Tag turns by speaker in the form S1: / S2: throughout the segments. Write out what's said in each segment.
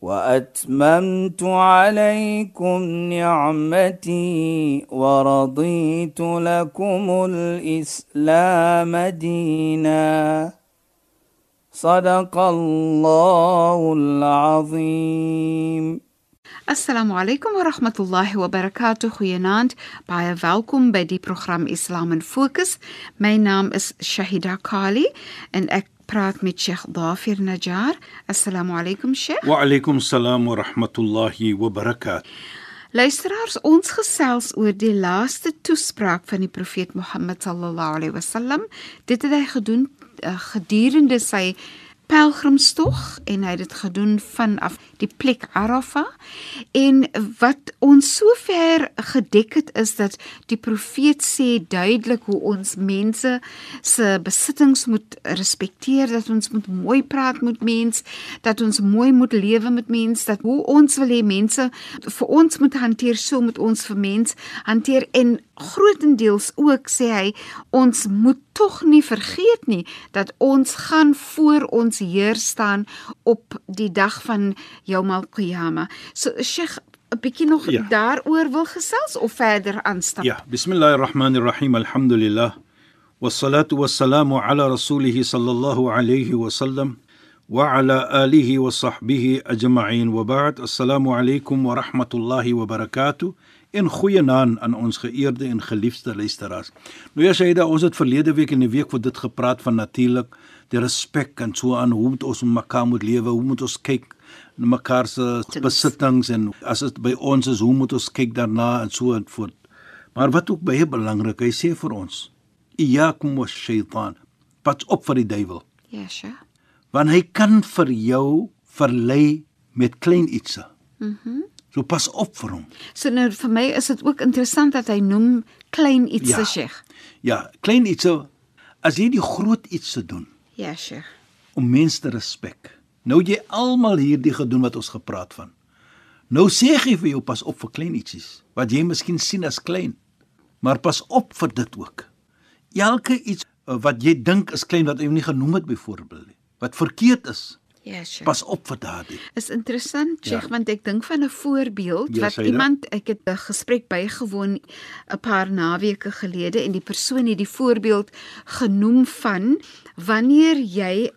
S1: واتممت عليكم نعمتي ورضيت لكم الاسلام دينا صدق الله العظيم
S2: Assalamu alaykum wa rahmatullahi wa barakatuh. Goeienaand. Baie welkom by die program Islam in Fokus. My naam is Shahida Kali en ek praat met Sheikh Dafir Najjar. Assalamu alaykum Sheikh.
S3: وعليكم السلام ورحمة الله وبركاته
S2: Luisteraars, ons gesels oor die laaste toespraak van die profeet Mohammed sallallahu alaihi wasallam. Dit het hy gedoen uh, gedurende sy pelgrimstog en hy het dit gedoen vanaf die plek Arafah. En wat ons sover gedek het is dat die profeet sê duidelik hoe ons mense se besittings moet respekteer, dat ons moet mooi praat met mens, dat ons mooi moet lewe met mens, dat hoe ons wil hê mense vir ons moet hanteer, so moet ons vir mens hanteer en grootendeels ook sê hy ons moet tog nie vergeet nie dat ons gaan voor ons Heer staan op die dag van Yawm al-Qiyamah. So Sheikh 'n bietjie nog ja.
S3: Ja.
S2: daaroor wil gesels of verder aanstap.
S3: يا بسم الله الرحمن الرحيم الحمد لله والصلاة والسلام على رسوله صلى الله عليه وسلم وعلى آله وصحبه أجمعين وبعد السلام عليكم ورحمة الله وبركاته en goeienaand aan ons geëerde en geliefde luisteraars. Nou ja Shaida, ons het verlede week en die week voor dit gepraat van natuurlik die respek en so aan hoe moet ons met mekaar moet lewe, hoe moet ons kyk na mekaar se besittings en as dit by ons is, hoe moet ons kyk daarna en so en voort. Maar wat ook baie belangrik, hy sê vir ons: "Iyyakum wash-shaytan." Pas op vir die duiwel,
S2: Ja, Sheikh.
S3: want hy kan vir jou verlei met klein ietsie. Mhm. Mm so pas op vir hom.
S2: So nou vir my is dit ook interessant dat hy noem klein iets se
S3: Ja.
S2: Sheikh.
S3: Ja, klein ietsie. As jy die groot ietsie doen
S2: Ja, Sheikh.
S3: om mense te respek. Nou het jy almal hierdie gedoen wat ons gepraat van. Nou sê gee vir jou pas op vir klein ietjies wat jy miskien sien as klein. Maar pas op vir dit ook. Elke iets eh, wat jy dink is klein wat jy nie genoem het byvoorbeeld nie, wat verkeerd is,
S2: Ja, Sheikh.
S3: pas op vir daardie.
S2: Is interessant,
S3: Ja.
S2: Sheikh, want ek dink van 'n voorbeeld
S3: Ja,
S2: wat
S3: Saida.
S2: iemand ek het 'n gesprek bygewoon 'n paar naweke gelede en die persoon het die voorbeeld genoem van wanneer jy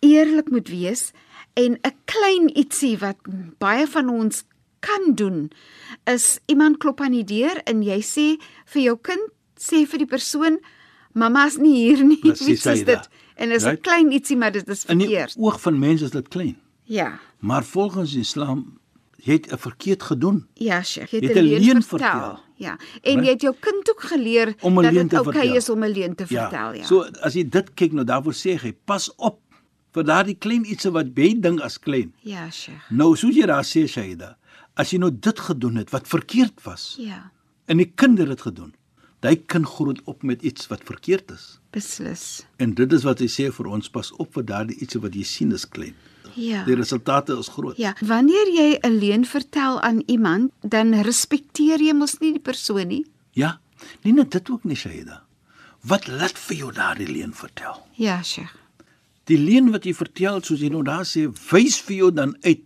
S2: eerlik moet wees en 'n klein ietsie wat baie van ons kan doen is iemand klop aan die deur en jy sê vir jou kind sê vir die persoon mamma's nie hier nie
S3: Precies,
S2: wie is
S3: Saida.
S2: dit en dit is 'n
S3: Right?
S2: klein ietsie maar dit is
S3: In die
S2: verkeerd
S3: oog van mense is dit klein,
S2: ja
S3: maar volgens die Islam jy het 'n verkeerd gedoen.
S2: Ja, Sheikh, jy
S3: Jy
S2: het
S3: het
S2: 'n
S3: een
S2: leuen
S3: leuen
S2: vertel.
S3: vertel.
S2: Ja, en
S3: Né?
S2: jy het jou kind ook geleer
S3: Om 'n
S2: dat
S3: leuen
S2: dit
S3: te
S2: oukei
S3: vertel.
S2: is om 'n leuen te vertel, ja.
S3: So as jy dit kyk nou daarvoor sê hy, pas op vir daardie klein ietsie wat jy dink as klein.
S2: ja, Sheikh.
S3: Nou soos jy daar sê Shaida, as jy nou dit gedoen het wat verkeerd was
S2: Ja,
S3: en die kind het dit gedoen, hy kan groot op met iets wat verkeerd is.
S2: beslis.
S3: En dit is wat hy sê vir ons pas op vir daardie ietsie wat jy sien is klein.
S2: Ja.
S3: Die resultate is groot.
S2: Ja, wanneer jy 'n leuen vertel aan iemand, dan respekteer jy mos nie die persoon nie.
S3: Ja. Nee, net dit ook nie Shaida. Wat laat vir jou daardie leen vertel?
S2: Ja, Sheikh.
S3: Die leen wat jy vertel, soos jy nou daar sê, wys vir jou dan uit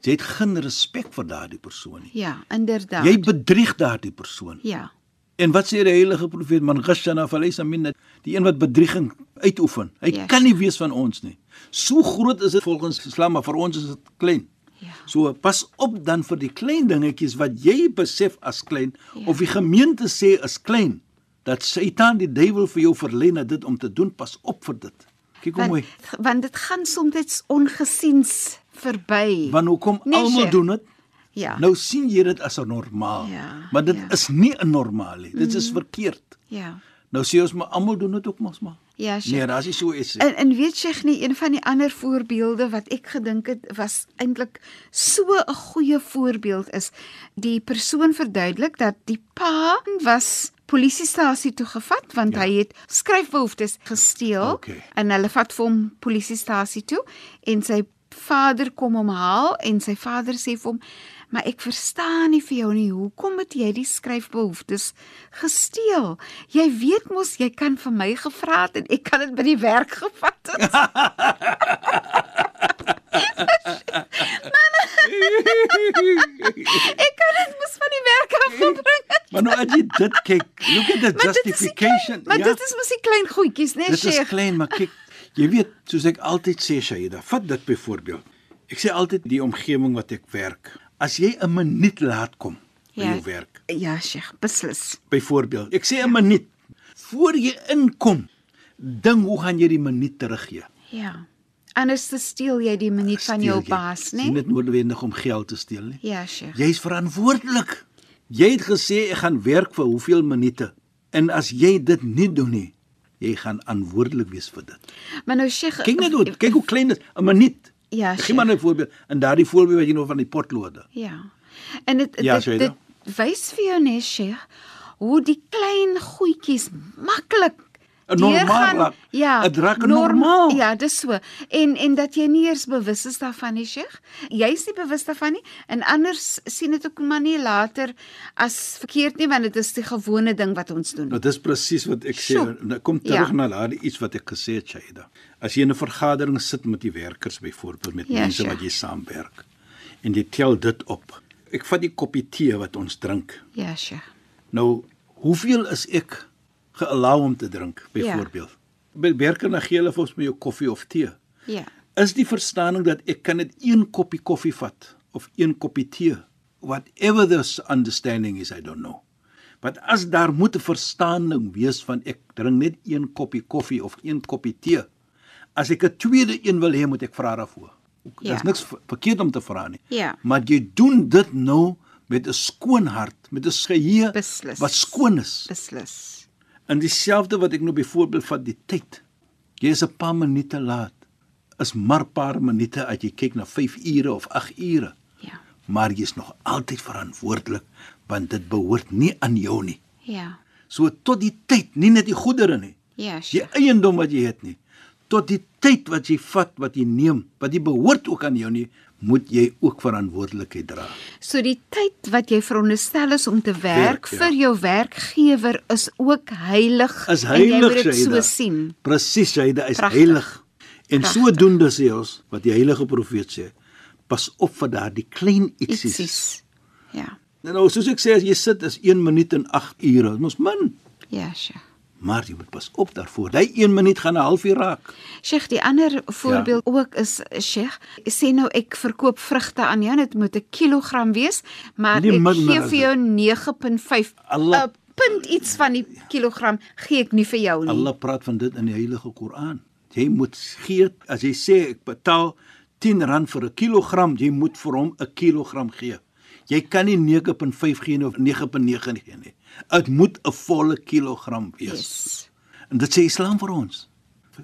S3: jy het geen respek vir daardie persoon nie.
S2: Ja, inderdaad.
S3: Jy bedrieg daardie persoon.
S2: Ja.
S3: En wat sê die heilige profeet man ghashana falaysa minna, die een wat bedrieging uitoefen. Hy
S2: Ja.
S3: yes. kan nie wees van ons nie. So groot is dit volgens Islam, maar vir ons is dit klein.
S2: Ja.
S3: So pas op dan vir die klein dingetjies wat jy besef as klein ja. of die gemeente sê is klein. Dat Satan die duiwel vir jou verlei na dit om te doen, pas op vir dit. Kyk hoe mooi.
S2: Want, want dit gaan soms ongesiens verby.
S3: Want hoekom
S2: Nee,
S3: nee, almal
S2: Sheikh.
S3: doen dit?
S2: ja.
S3: Nou sien jy dit as 'n normaal.
S2: Ja,
S3: maar dit
S2: ja. Mm.
S3: is nie 'n normaal nie. Dit is verkeerd.
S2: ja.
S3: Nou sê ons maar almal doen dit ook mos maar.
S2: Ja, Sheikh. Eh,
S3: Nee, daar is nie so iets. nie.
S2: En en weet Sheikh nie een van die ander voorbeelde wat ek gedink het was eintlik so 'n goeie voorbeeld is die persoon verduidelik dat die pa was polisiestasie toe gevat want
S3: Ja.
S2: ja. hy het skryfbehoeftes gesteel
S3: Okay.
S2: en hulle vat vir hom polisiestasie toe en sy vader kom hom haal en sy vader sê vir hom maar ek verstaan nie vir jou nie hoekom het jy die skryfbehoeftes gesteel jy weet mos jy kan vir my gevra het en ek kan dit by die werk gevat het ek kan dit mos van die werk af gebring het
S3: Maar nou as jy dit kyk, look at the
S2: Maar dit is die
S3: justification. ja.
S2: maar dit is mos die klein goedjies nê
S3: Dit is
S2: Sheikh
S3: klein, maar kyk, jy weet, soos ek altyd sê Shaida, vat dit byvoorbeeld. Ek sê altyd die omgewing wat ek werk. As jy 'n minuut laat kom by
S2: Ja.
S3: jou werk,
S2: ja Sheikh beslis
S3: byvoorbeeld, ek sê 'n minuut voor jy inkom, ding hoe gaan jy die minuut teruggee?
S2: ja anders te steel jy die minuut van jou baas
S3: Dit
S2: nê
S3: is noodwendig om geld te steel, nie?
S2: ja Sheikh
S3: Jy's verantwoordelik. Jy het gesê ek gaan werk vir hoeveel minute. En as jy dit nie doen nie, jy gaan verantwoordelik wees vir dit.
S2: maar nou Sheikh
S3: Kyk net hoe kyk hoe klein dit 'n minuut.
S2: Ja,
S3: Gee
S2: sure.
S3: maar 'n voorbeeld. In daardie voorbeeld wat jy nou van die potlode.
S2: Ja. En dit
S3: Ja,
S2: dit,
S3: Shaida.
S2: dit wys vir jou net Sheikh hoe die klein goedjies maklik
S3: 'n Normaal
S2: deurgaan.
S3: raak.
S2: Ja.
S3: Het raak 'n
S2: norm-
S3: normaal.
S2: Ja, dis so. En en dat jy nie eers bewus is daarvan nie, Sheikh. Jy's nie bewus daarvan nie en anders sien dit ook maar nie later as verkeerd nie want dit is die gewone ding wat ons doen.
S3: Dit is Nou, presies wat ek sê.
S2: Sjoe.
S3: Nou kom terug
S2: Ja.
S3: ja. na daardie iets wat ek gesê het, Shaida. As jy in 'n vergadering sit met die werkers byvoorbeeld met
S2: Ja,
S3: mense
S2: sure.
S3: wat jy saamwerk en jy tel dit op. Ek vat die koppie tee wat ons drink.
S2: Ja, Sheikh.
S3: Nou, hoeveel is ek geallow om te drink byvoorbeeld? Ja. By werker na gee hulle vir ons met jou koffie of tee.
S2: Ja.
S3: Is die verstaaning dat ek kan net een koppie koffie vat of een koppie tee? Whatever this understanding is, I don't know. Want as daar moet 'n verstaaning wees van ek drink net een koppie koffie of een koppie tee. As ek 'n tweede een wil hê, moet ek vra daarvoor. Ja.
S2: Ja.
S3: Daar's niks ver- verkeerd om te vra nie.
S2: Ja.
S3: Maar jy doen dit nou met 'n skoon hart, met 'n geheue
S2: Beslis.
S3: wat skoon is.
S2: Beslis.
S3: In dieselfde wat ek nou byvoorbeeld vat die tyd. Jy is 'n paar minute laat. Is maar paar minute as jy kyk na 5 ure of 8 ure,
S2: Ja.
S3: maar jy's nog altyd verantwoordelik want dit behoort nie aan jou nie.
S2: Ja.
S3: So tot die tyd, nie net die goedere nie,
S2: Ja,
S3: die
S2: Sheikh.
S3: eiendom wat jy het nie, tot die tyd wat jy vat, wat jy neem, wat jy behoort ook aan jou nie, moet jy ook verantwoordelikheid dra.
S2: So die tyd wat jy veronderstel is om te werk
S3: Werk, ja.
S2: vir jou werkgewer is ook heilig.
S3: is
S2: en jy
S3: heilig
S2: moet dit
S3: Shaida.
S2: so sien.
S3: Presies Shaida is
S2: Pragtig.
S3: heilig. En
S2: Pragtig.
S3: sodoende sê ons wat die heilige profeet sê, pas op vir daardie klein ietsies.
S2: Itsies. Ja.
S3: Nou nou, soos ek sê as jy sit is 1 minuut en 8 ure, dit mos min,
S2: Ja, Sheikh.
S3: maar jy moet pas op daarvoor. Daai 1 minuut gaan 'n halfuur raak.
S2: Sheikh, die ander voorbeeld ja. ook is Sheikh, sê nou ek verkoop vrugte aan jou, en dit moet 'n kilogram wees, maar
S3: Nie
S2: ek
S3: minder
S2: gee
S3: as
S2: vir jou 9.5.
S3: Nee, Allah.
S2: 'n eh, Punt iets van die kilogram gee ek nie vir jou nie.
S3: Allah praat van dit in die Heilige Koran. Jy moet gee as jy sê ek betaal 10 rand vir 'n kilogram, jy moet vir hom 'n kilogram gee. Jy kan nie 9.5 gee nie of 9.9 gee nie. Dit moet 'n volle kilogram wees.
S2: Yes.
S3: En dit sê Islam vir ons.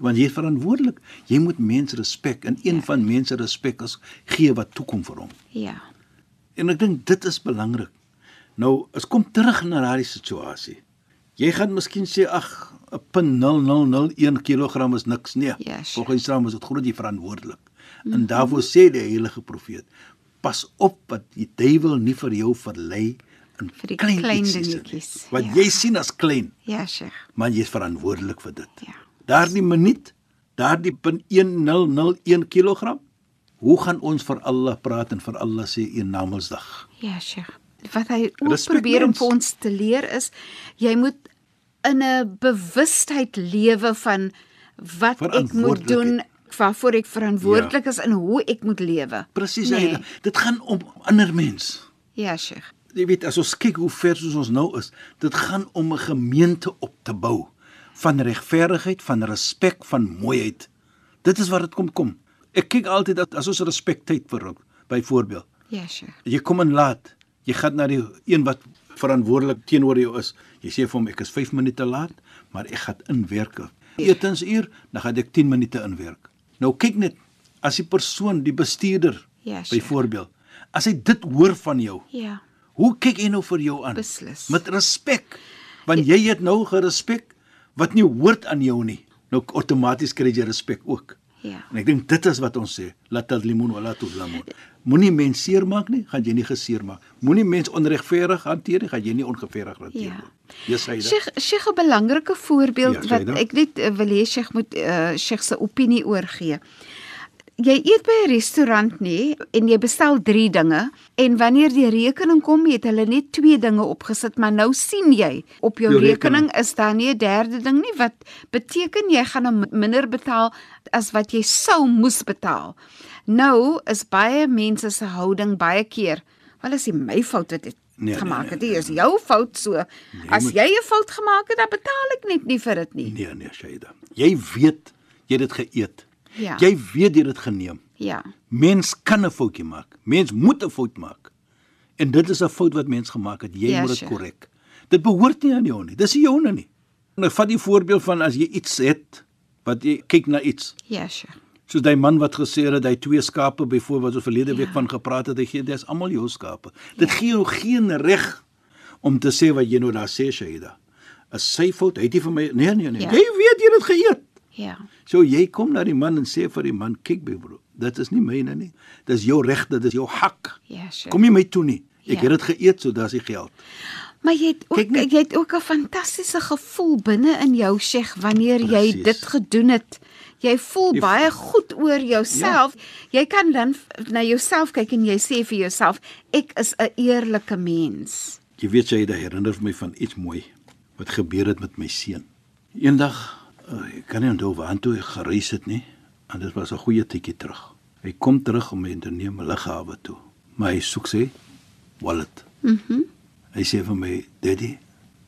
S3: Want jy is verantwoordelik. Jy moet mense respek en een ja. van mense respek is gee wat toekom vir hom.
S2: Ja.
S3: En ek dink dit is belangrik. Nou, as kom terug na daardie situasie. Jy gaan miskien sê ag, 0.0001 kg is niks nie.
S2: Ja, sure. Mhm.
S3: Volgens Islam is dit groot jy verantwoordelik. Mm -hmm. En daarvoor sê die heilige profeet, pas op dat die duiwel nie vir jou verlei in
S2: Vir die
S3: klein,
S2: klein
S3: ietsies in nie.
S2: dingetjies,
S3: Wat
S2: ja.
S3: jy sien as klein,
S2: Ja, Sheikh.
S3: maar jy is verantwoordelik vir dit.
S2: Ja.
S3: Daardie minuut, daardie punt 1001 kg, hoe gaan ons vir Allah praat en vir Allah sê een namelsdag?
S2: Ja, Sheikh. Wat hy ook
S3: Respek
S2: probeer om
S3: mens.
S2: vir ons te leer is jy moet in 'n bewustheid lewe van wat ek moet doen,
S3: Verantwoordelikheid. Ja.
S2: waarvoor ek verantwoordelik is en hoe ek moet lewe.
S3: Presies,
S2: Nee.
S3: nee. dit gaan om ander mens.
S2: Ja, Sheikh.
S3: Jy weet, as ons kyk hoe ver soos ons nou is, dit gaan om 'n gemeente op te bou van regverdigheid, van respek, van mooiheid. Dit is wat dit kom kom. Ek kyk altyd dat as ons respek tyd verruk, byvoorbeeld
S2: Ja, Sheikh.
S3: Jy kom in laat. Jy gaan na die een wat verantwoordelik teenoor jou is. Jy sê vir hom ek is 5 minute laat, maar ek gaan inwerk. Etensuur, dan gaan ek 10 minute inwerk. Nou kyk net as die persoon, die bestuurder
S2: Ja, sure.
S3: byvoorbeeld, as hy dit hoor van jou,
S2: Ja.
S3: hoe kyk hy nou vir jou aan?
S2: Beslis.
S3: Met respek. want jy het nou gerespek wat nie hoort aan jou nie. Nou outomaties kry jy respek ook.
S2: Ja.
S3: En ek dink dit is wat ons sê, laat al limon wala tu lamun. Moenie mens seermaak nie, gaan jy nie geseer maak. Moenie mens onregverdig hanteer nie, gaan jy nie ongeverdig hanteer
S2: Ja.
S3: nie. Ja. Jy sê dit.
S2: Sheikh Sheikh 'n belangrike voorbeeld
S3: Ja,
S2: wat
S3: Saida.
S2: ek net eh, wil hê Sheikh moet uh, Sheikh se opinie oor gee. Jy eet by 'n restaurant nê en jy bestel 3 dinge en wanneer die rekening kom het hulle net 2 dinge opgesit maar nou sien jy op jou
S3: Jou
S2: rekening
S3: rekening.
S2: is daar nie 'n derde ding nie wat beteken jy gaan nou minder betaal as wat jy sou moes betaal. Nou is baie mense se houding baie keer Wel is dit my fout wat dit nee,
S3: Nee,
S2: gemaak
S3: nee,
S2: het. Dit is jou fout so. Nee, as
S3: moet-
S2: jy 'n fout gemaak het, dan betaal ek net nie vir dit nie.
S3: Nee, nee, Shaida. Jy weet jy het dit geëet.
S2: Ja.
S3: Jy weet jy het dit geneem.
S2: Ja.
S3: Mens kan 'n foutjie maak. Mens moet 'n fout maak. En dit is 'n fout wat mens gemaak het. Jy
S2: Ja,
S3: yes, moet dit
S2: sure.
S3: korrek. Dit behoort nie aan jou nie. Dis nie joune nie. Nou vat die voorbeeld van as jy iets het wat jy kyk na iets.
S2: Ja, sure.
S3: Soos daai man wat gesê het hy twee skape byvoorbeeld wat ons verlede ja. week van gepraat het, hy gee dis almal jou skape. Dit ja. gee jou geen reg om te sê wat jy nou daar sê, Shaida. Is sy fout? Hy het nie vir my nee nee nee.
S2: Ja.
S3: Ja. Jy weet jy het dit geëet.
S2: Ja.
S3: So jy kom na die man en sê vir die man, kyk my broer, dit is nie myne nie. Dis jou reg, dit is jou hak.
S2: Ja, sure.
S3: Kom nie my toe nie.
S2: Ja.
S3: Ek het dit geëet, so daar's die geld.
S2: Maar jy het ook
S3: Kyk net.
S2: jy het ook 'n fantastiese gevoel binne in jou, Sheikh, wanneer jy
S3: Presies.
S2: dit gedoen het. Jy voel
S3: Jy-
S2: baie goed oor jouself. Ja. Jy kan dan f- na jouself kyk en jy sê vir jouself, ek is 'n eerlike mens.
S3: Jy weet jy dit herinner my van iets mooi wat gebeur het met my seun. Eendag, uh, ek kan nie onthou waartoe hy gereis het nie, en dit was 'n goeie tydjie terug. Hy kom terug om my te neem lughawe toe, maar hy soek sy wallet. Mhm. Hy sê vir my, "Daddy,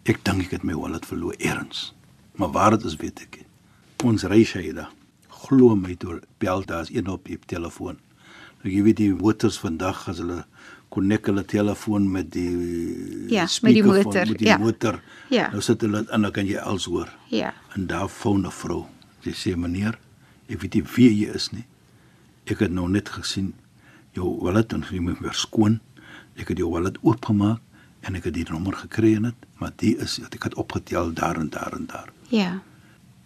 S3: ek dink ek het my wallet verloor eers." Maar waar dit is, weet ek nie. Ons reis hy daar. Glo my toe bel daar's een op die telefoon. Nou jy weet die motors vandag as hulle konnek hulle telefoon met die
S2: Ja, met die
S3: speakerphone,
S2: motor,
S3: met die
S2: ja.
S3: motor.
S2: Ja.
S3: Nou sit hulle aan dan kan jy alles hoor.
S2: Ja.
S3: En daar foon 'n vrou. Sy sê meneer, ek weet nie wie jy is nie. Ek het nou net gesien jou wallet en jy moet weer skoon. Ek het jou wallet oopgemaak en ek het die nommer gekry en dit, maar die is ek het opgetel daar en daar en daar.
S2: Ja.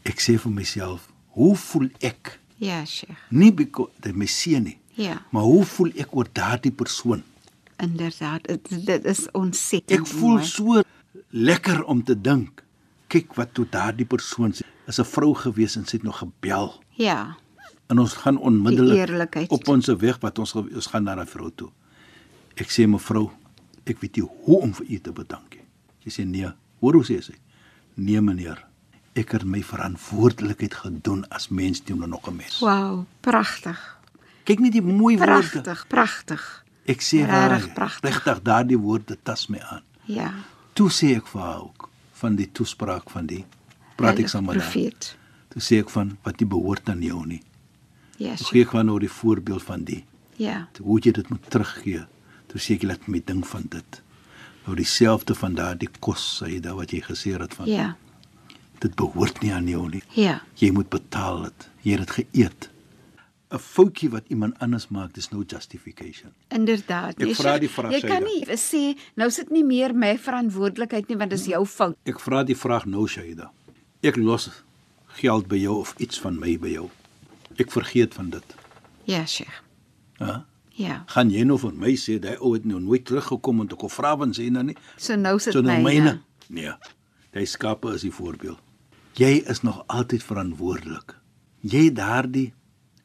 S3: Ek sê vir myself, hoe voel ek?
S2: Ja, Sheikh.
S3: Nie because dit my seun nie,
S2: Ja.
S3: maar hoe voel ek oor daardie persoon?
S2: Inderdaad, dit, dit is ontsettend.
S3: Ek voel
S2: mooi.
S3: so lekker om te dink. Kyk wat toe daardie persoon sê. Is 'n vrou gewees en sy het nog gebel.
S2: Ja.
S3: En ons gaan
S2: Die
S3: onmiddellik
S2: eerlikheid.
S3: op ons weg wat ons ge- ons gaan na 'n vrou toe. Ek sê mevrou, ek weet nie hoe om vir u te bedank nie. Sy sê nee. Hoor hoe sê sy? Nee meneer. Ek het my verantwoordelikheid gedoen as mens teenoor nog 'n mens.
S2: Wow, pragtig.
S3: Kyk net die mooi woorde.
S2: Pragtig, pragtig.
S3: Ek sê
S2: Regtig pragtig.
S3: regtig daardie woorde tas my aan.
S2: Ja.
S3: Toe sê ek vir haar ook van die toespraak van die praat ek
S2: heilige
S3: saam met haar.
S2: profeet.
S3: Toe sê ek van wat nie behoort aan jou nie.
S2: Ja.
S3: Toe
S2: Sheikh.
S3: gee ek van oor die voorbeeld van die
S2: Ja.
S3: toe hoe jy dit moet teruggee. Toe sê ek laat my ding van dit. Nou dieselfde van daardie kos sê jy wat jy gesê het van
S2: Ja.
S3: dit behoort nie aan jou nie.
S2: Ja.
S3: Jy moet betaal dit. Jy het dit geëet. 'n Foutjie wat iemand anders maak, dis no justification.
S2: Inderdaad.
S3: Ek
S2: nee,
S3: vra
S2: Sheikh,
S3: die vraag,
S2: Jy kan
S3: Saida.
S2: nie sê nou sit nie meer my verantwoordelikheid nie want dis jou fout.
S3: Ek vra die vraag nou, Shaida. Ek los geld by jou of iets van my by jou. Ek vergeet van dit.
S2: Ja, Sheikh.
S3: Hæ?
S2: Ja.
S3: Gaan jy nou vir my sê dat hy ou het nou nooit teruggekom en toe kom vra want sê nou nie.
S2: So nou sit ja.
S3: So nou myne.
S2: myne.
S3: Nee. Hy skape is die voorbeeld. Jy is nog altyd verantwoordelik. Jy het daardie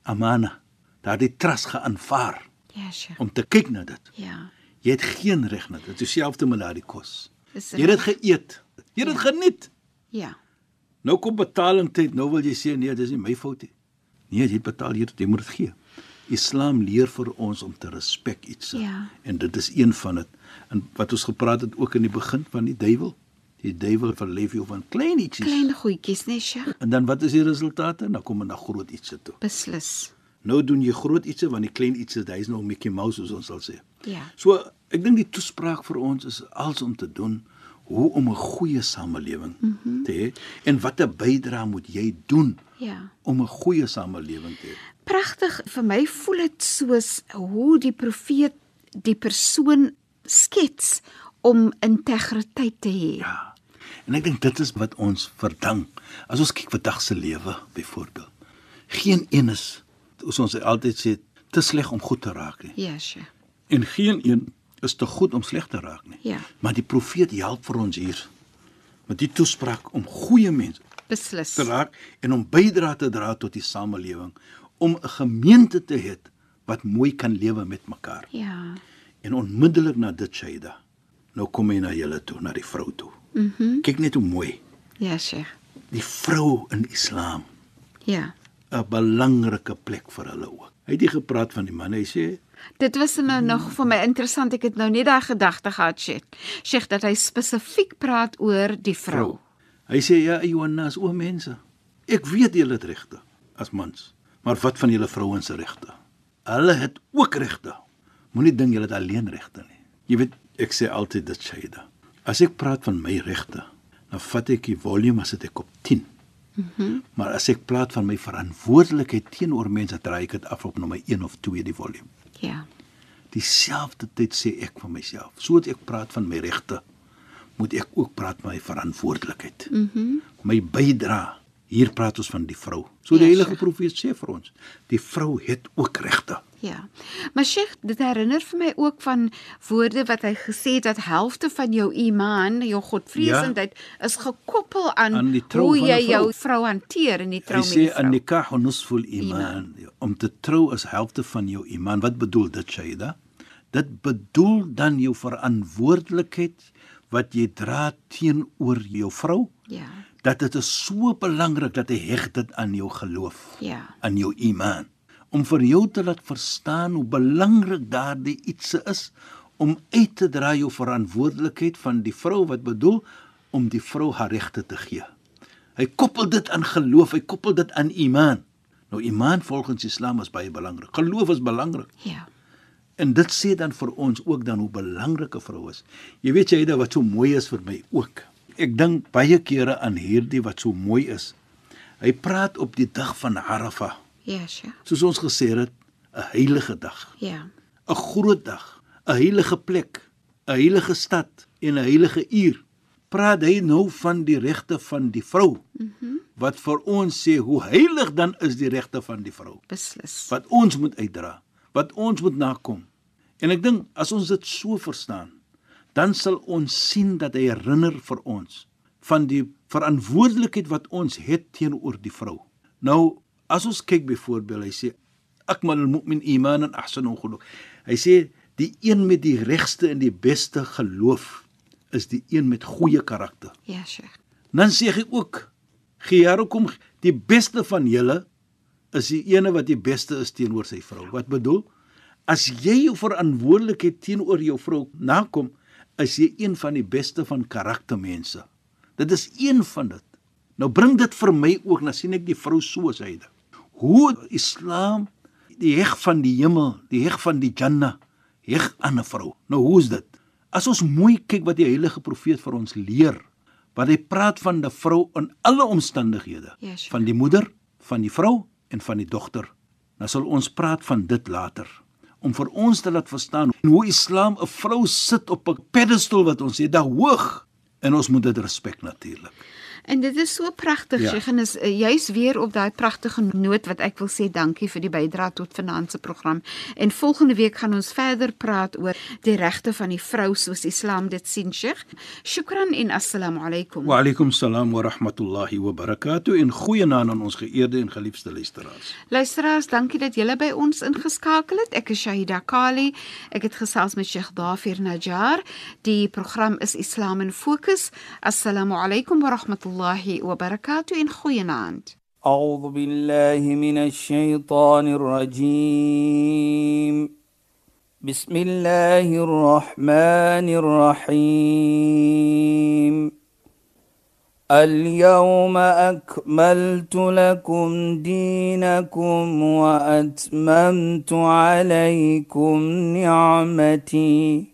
S3: amana, daardie trust geaanvaar
S2: Ja, Sheikh.
S3: om te kyk na dit.
S2: Ja.
S3: Jy het geen reg na dit. Dieselfde met daardie kos.
S2: Dis
S3: Jy het dit geëet. Jy het dit geniet.
S2: Ja.
S3: Nou kom betalingtyd, nou wil jy sê nee, dis nie my fout nie. Nee, jy het betaal hier, jy moet dit gee. Islam leer vir ons om te respek iets.
S2: Ja.
S3: En dit is een van dit. En wat ons gepraat het ook in die begin van die duiwel. Die duiwel verlef jou van klein ietjies.
S2: Klein goedjies, nee, Sheikh.
S3: En dan wat is die resultate? Dan kom jy na groot ietsie toe.
S2: Beslis.
S3: Nou doen jy groot ietsie want die klein ietsie, hy is nou Mickey Mouse soos ons sal sê.
S2: Ja.
S3: So, ek dink die toespraak vir ons is als om te doen hoe om 'n goeie samelewing mm -hmm. te hê en watter bydrae moet jy doen
S2: Ja.
S3: om 'n goeie samelewing te hê.
S2: Pragtig. Vir my voel dit soos hoe die profeet die persoon skets om integriteit te hê.
S3: Ja. En ek dink dit is wat ons verdang. As ons kyk vandag se lewe byvoorbeeld. Geen een is soos ons altyd sê te sleg om goed te raak nie.
S2: Yesh. Ja.
S3: En geen een is te goed om sleg te raak nie.
S2: Ja.
S3: Maar die profeet help vir ons hier met die toespraak om goeie mense
S2: Beslis.
S3: te raak en om bydra te dra tot die samelewing om 'n gemeente te hê wat mooi kan lewe met mekaar.
S2: Ja.
S3: En onmiddellik na dit Shaida, nou kom hy na julle toe, na die vrou toe. Mhm. Mm -hmm. Kyk net hoe mooi.
S2: Ja, Sheikh.
S3: Die vrou in Islam,
S2: Ja.
S3: 'n belangrike plek vir hulle ook. Hy het nie gepraat van die man, hy sê
S2: Dit was nou
S3: Mhm.
S2: nog vir my interessant. Ek het nou net daai gedagte gehad, Sheikh. Sheikh dat hy spesifiek praat oor die vrou.
S3: Nou. Hy sê ja, Johannes, o mense, ek weet julle het regte as mans, maar wat van julle vrouens se regte? Hulle het ook regte. Moenie dink julle het alleen regte nie. Jy weet, ek sê altyd dit Shaida. As ek praat van my regte, dan vat ek die volume as dit ek op 10. Mm -hmm. Maar as ek praat van my verantwoordelikheid teenoor mense, draai ek dit af op nommer 1 of 2 die volume.
S2: Ja.
S3: Dieselfde tyd sê ek vir myself, sodat ek praat van my regte, moet ek ook praat van my verantwoordelikheid. Mhm. Mm my bydra. Hier praat ons van die vrou. So die
S2: Ja,
S3: heilige
S2: Sheikh.
S3: profeet sê vir ons, die vrou het ook regte.
S2: Ja. Maar Sheikh, dit herinner vir my ook van woorde wat hy gesê het dat helfte van jou iman, jou godvreesendheid ja. is gekoppel aan,
S3: Aan die trou
S2: hoe
S3: van
S2: jy
S3: die vrou.
S2: jou vrou hanteer in die
S3: Hy
S2: trou met
S3: sê
S2: die
S3: aan
S2: vrou.
S3: nikah nusful iman, Ja, om te trou is helfte van jou iman. Wat bedoel dit, Shaida? Dit bedoel dan jou verantwoordelikheid wat jy dra teenoor jou vrou
S2: Ja.
S3: dat dit is so belangrik dat hy heg dit aan jou geloof.
S2: Ja.
S3: aan jou iman om vir jou te laat verstaan hoe belangrik daardie iets is om uit te dra jou verantwoordelikheid van die vrou wat bedoel om die vrou haar regte te gee. Hy koppel dit aan geloof, hy koppel dit aan iman. Nou iman volgens Islam is baie belangrik. Geloof is belangrik.
S2: Ja.
S3: En dit sê dan vir ons ook dan hoe belangrik 'n vrou is. Jy weet jy dit wat so mooi is vir my ook. Ek dink baie kere aan hierdie wat so mooi is. Hy praat op die dag van Arafah
S2: Ja, Sheikh.
S3: soos ons gesê het, 'n heilige dag,
S2: Ja.
S3: 'n groot dag, 'n heilige plek, 'n heilige stad en 'n heilige uur. Praat hy nou van die regte van die vrou? Mm -hmm. Wat vir ons sê hoe heilig dan is die regte van die vrou?
S2: Beslis.
S3: Wat ons moet uitdra, wat ons moet nakom. En ek dink as ons dit so verstaan, dan sal ons sien dat hy herinner vir ons van die verantwoordelikheid wat ons het teenoor die vrou. Nou, as ons kyk byvoorbeeld, hy sê akmalul mu'min imanan ahsanu khuluq. Hy sê die een met die regste en die beste geloof is die een met goeie karakter.
S2: Ja, Sheikh.
S3: Dan sê hy ook: "Giarukum die beste van julle is die ene wat die beste is teenoor sy vrou." Wat bedoel? As jy jou verantwoordelikheid teenoor jou vrou nakom, is jy een van die beste van karaktermense. Dit is een van dit. Nou bring dit vir my ook, nou sien ek die vrou soos hy dit. Hoe Islam die heg van die hemel, die heg van die Janna, heg aan 'n vrou. Nou hoe is dit? As ons mooi kyk wat die heilige profeet vir ons leer, want hy praat van 'n vrou in alle omstandighede,
S2: Ja, sure.
S3: van die moeder, van die vrou en van die dogter. Nou sal ons praat van dit later om vir ons te laat verstaan hoe Islam 'n vrou sit op 'n pedestal wat ons sê, daar hoog en ons moet dit respek natuurlik.
S2: En dit is so pragtig,
S3: Ja.
S2: ja. Sheikh, en is uh, juis weer op daai pragtige noot wat ek wil sê dankie vir die bydrae tot vanaand se program. En volgende week gaan ons verder praat oor die regte van die vrou soos Islam dit sien, Sheikh. Shukran en assalamu alaykum.
S3: Wa alaykum salaam wa rahmatullahi wa barakatuh en goeienaand aan ons geëerde en geliefde luisteraars.
S2: Luisteraars, dankie dat julle by ons ingeskakel het. Ek is Shahida Kali. Ek het gesels met Sheikh Dafir Najjar. Die program is Islam in Fokus. Assalamu alaykum wa rahmatullahi wa barakatuh en goeienaand.
S1: أعوذ بالله من الشيطان الرجيم بسم الله الرحمن الرحيم اليوم أكملت لكم دينكم وأتممت عليكم نعمتي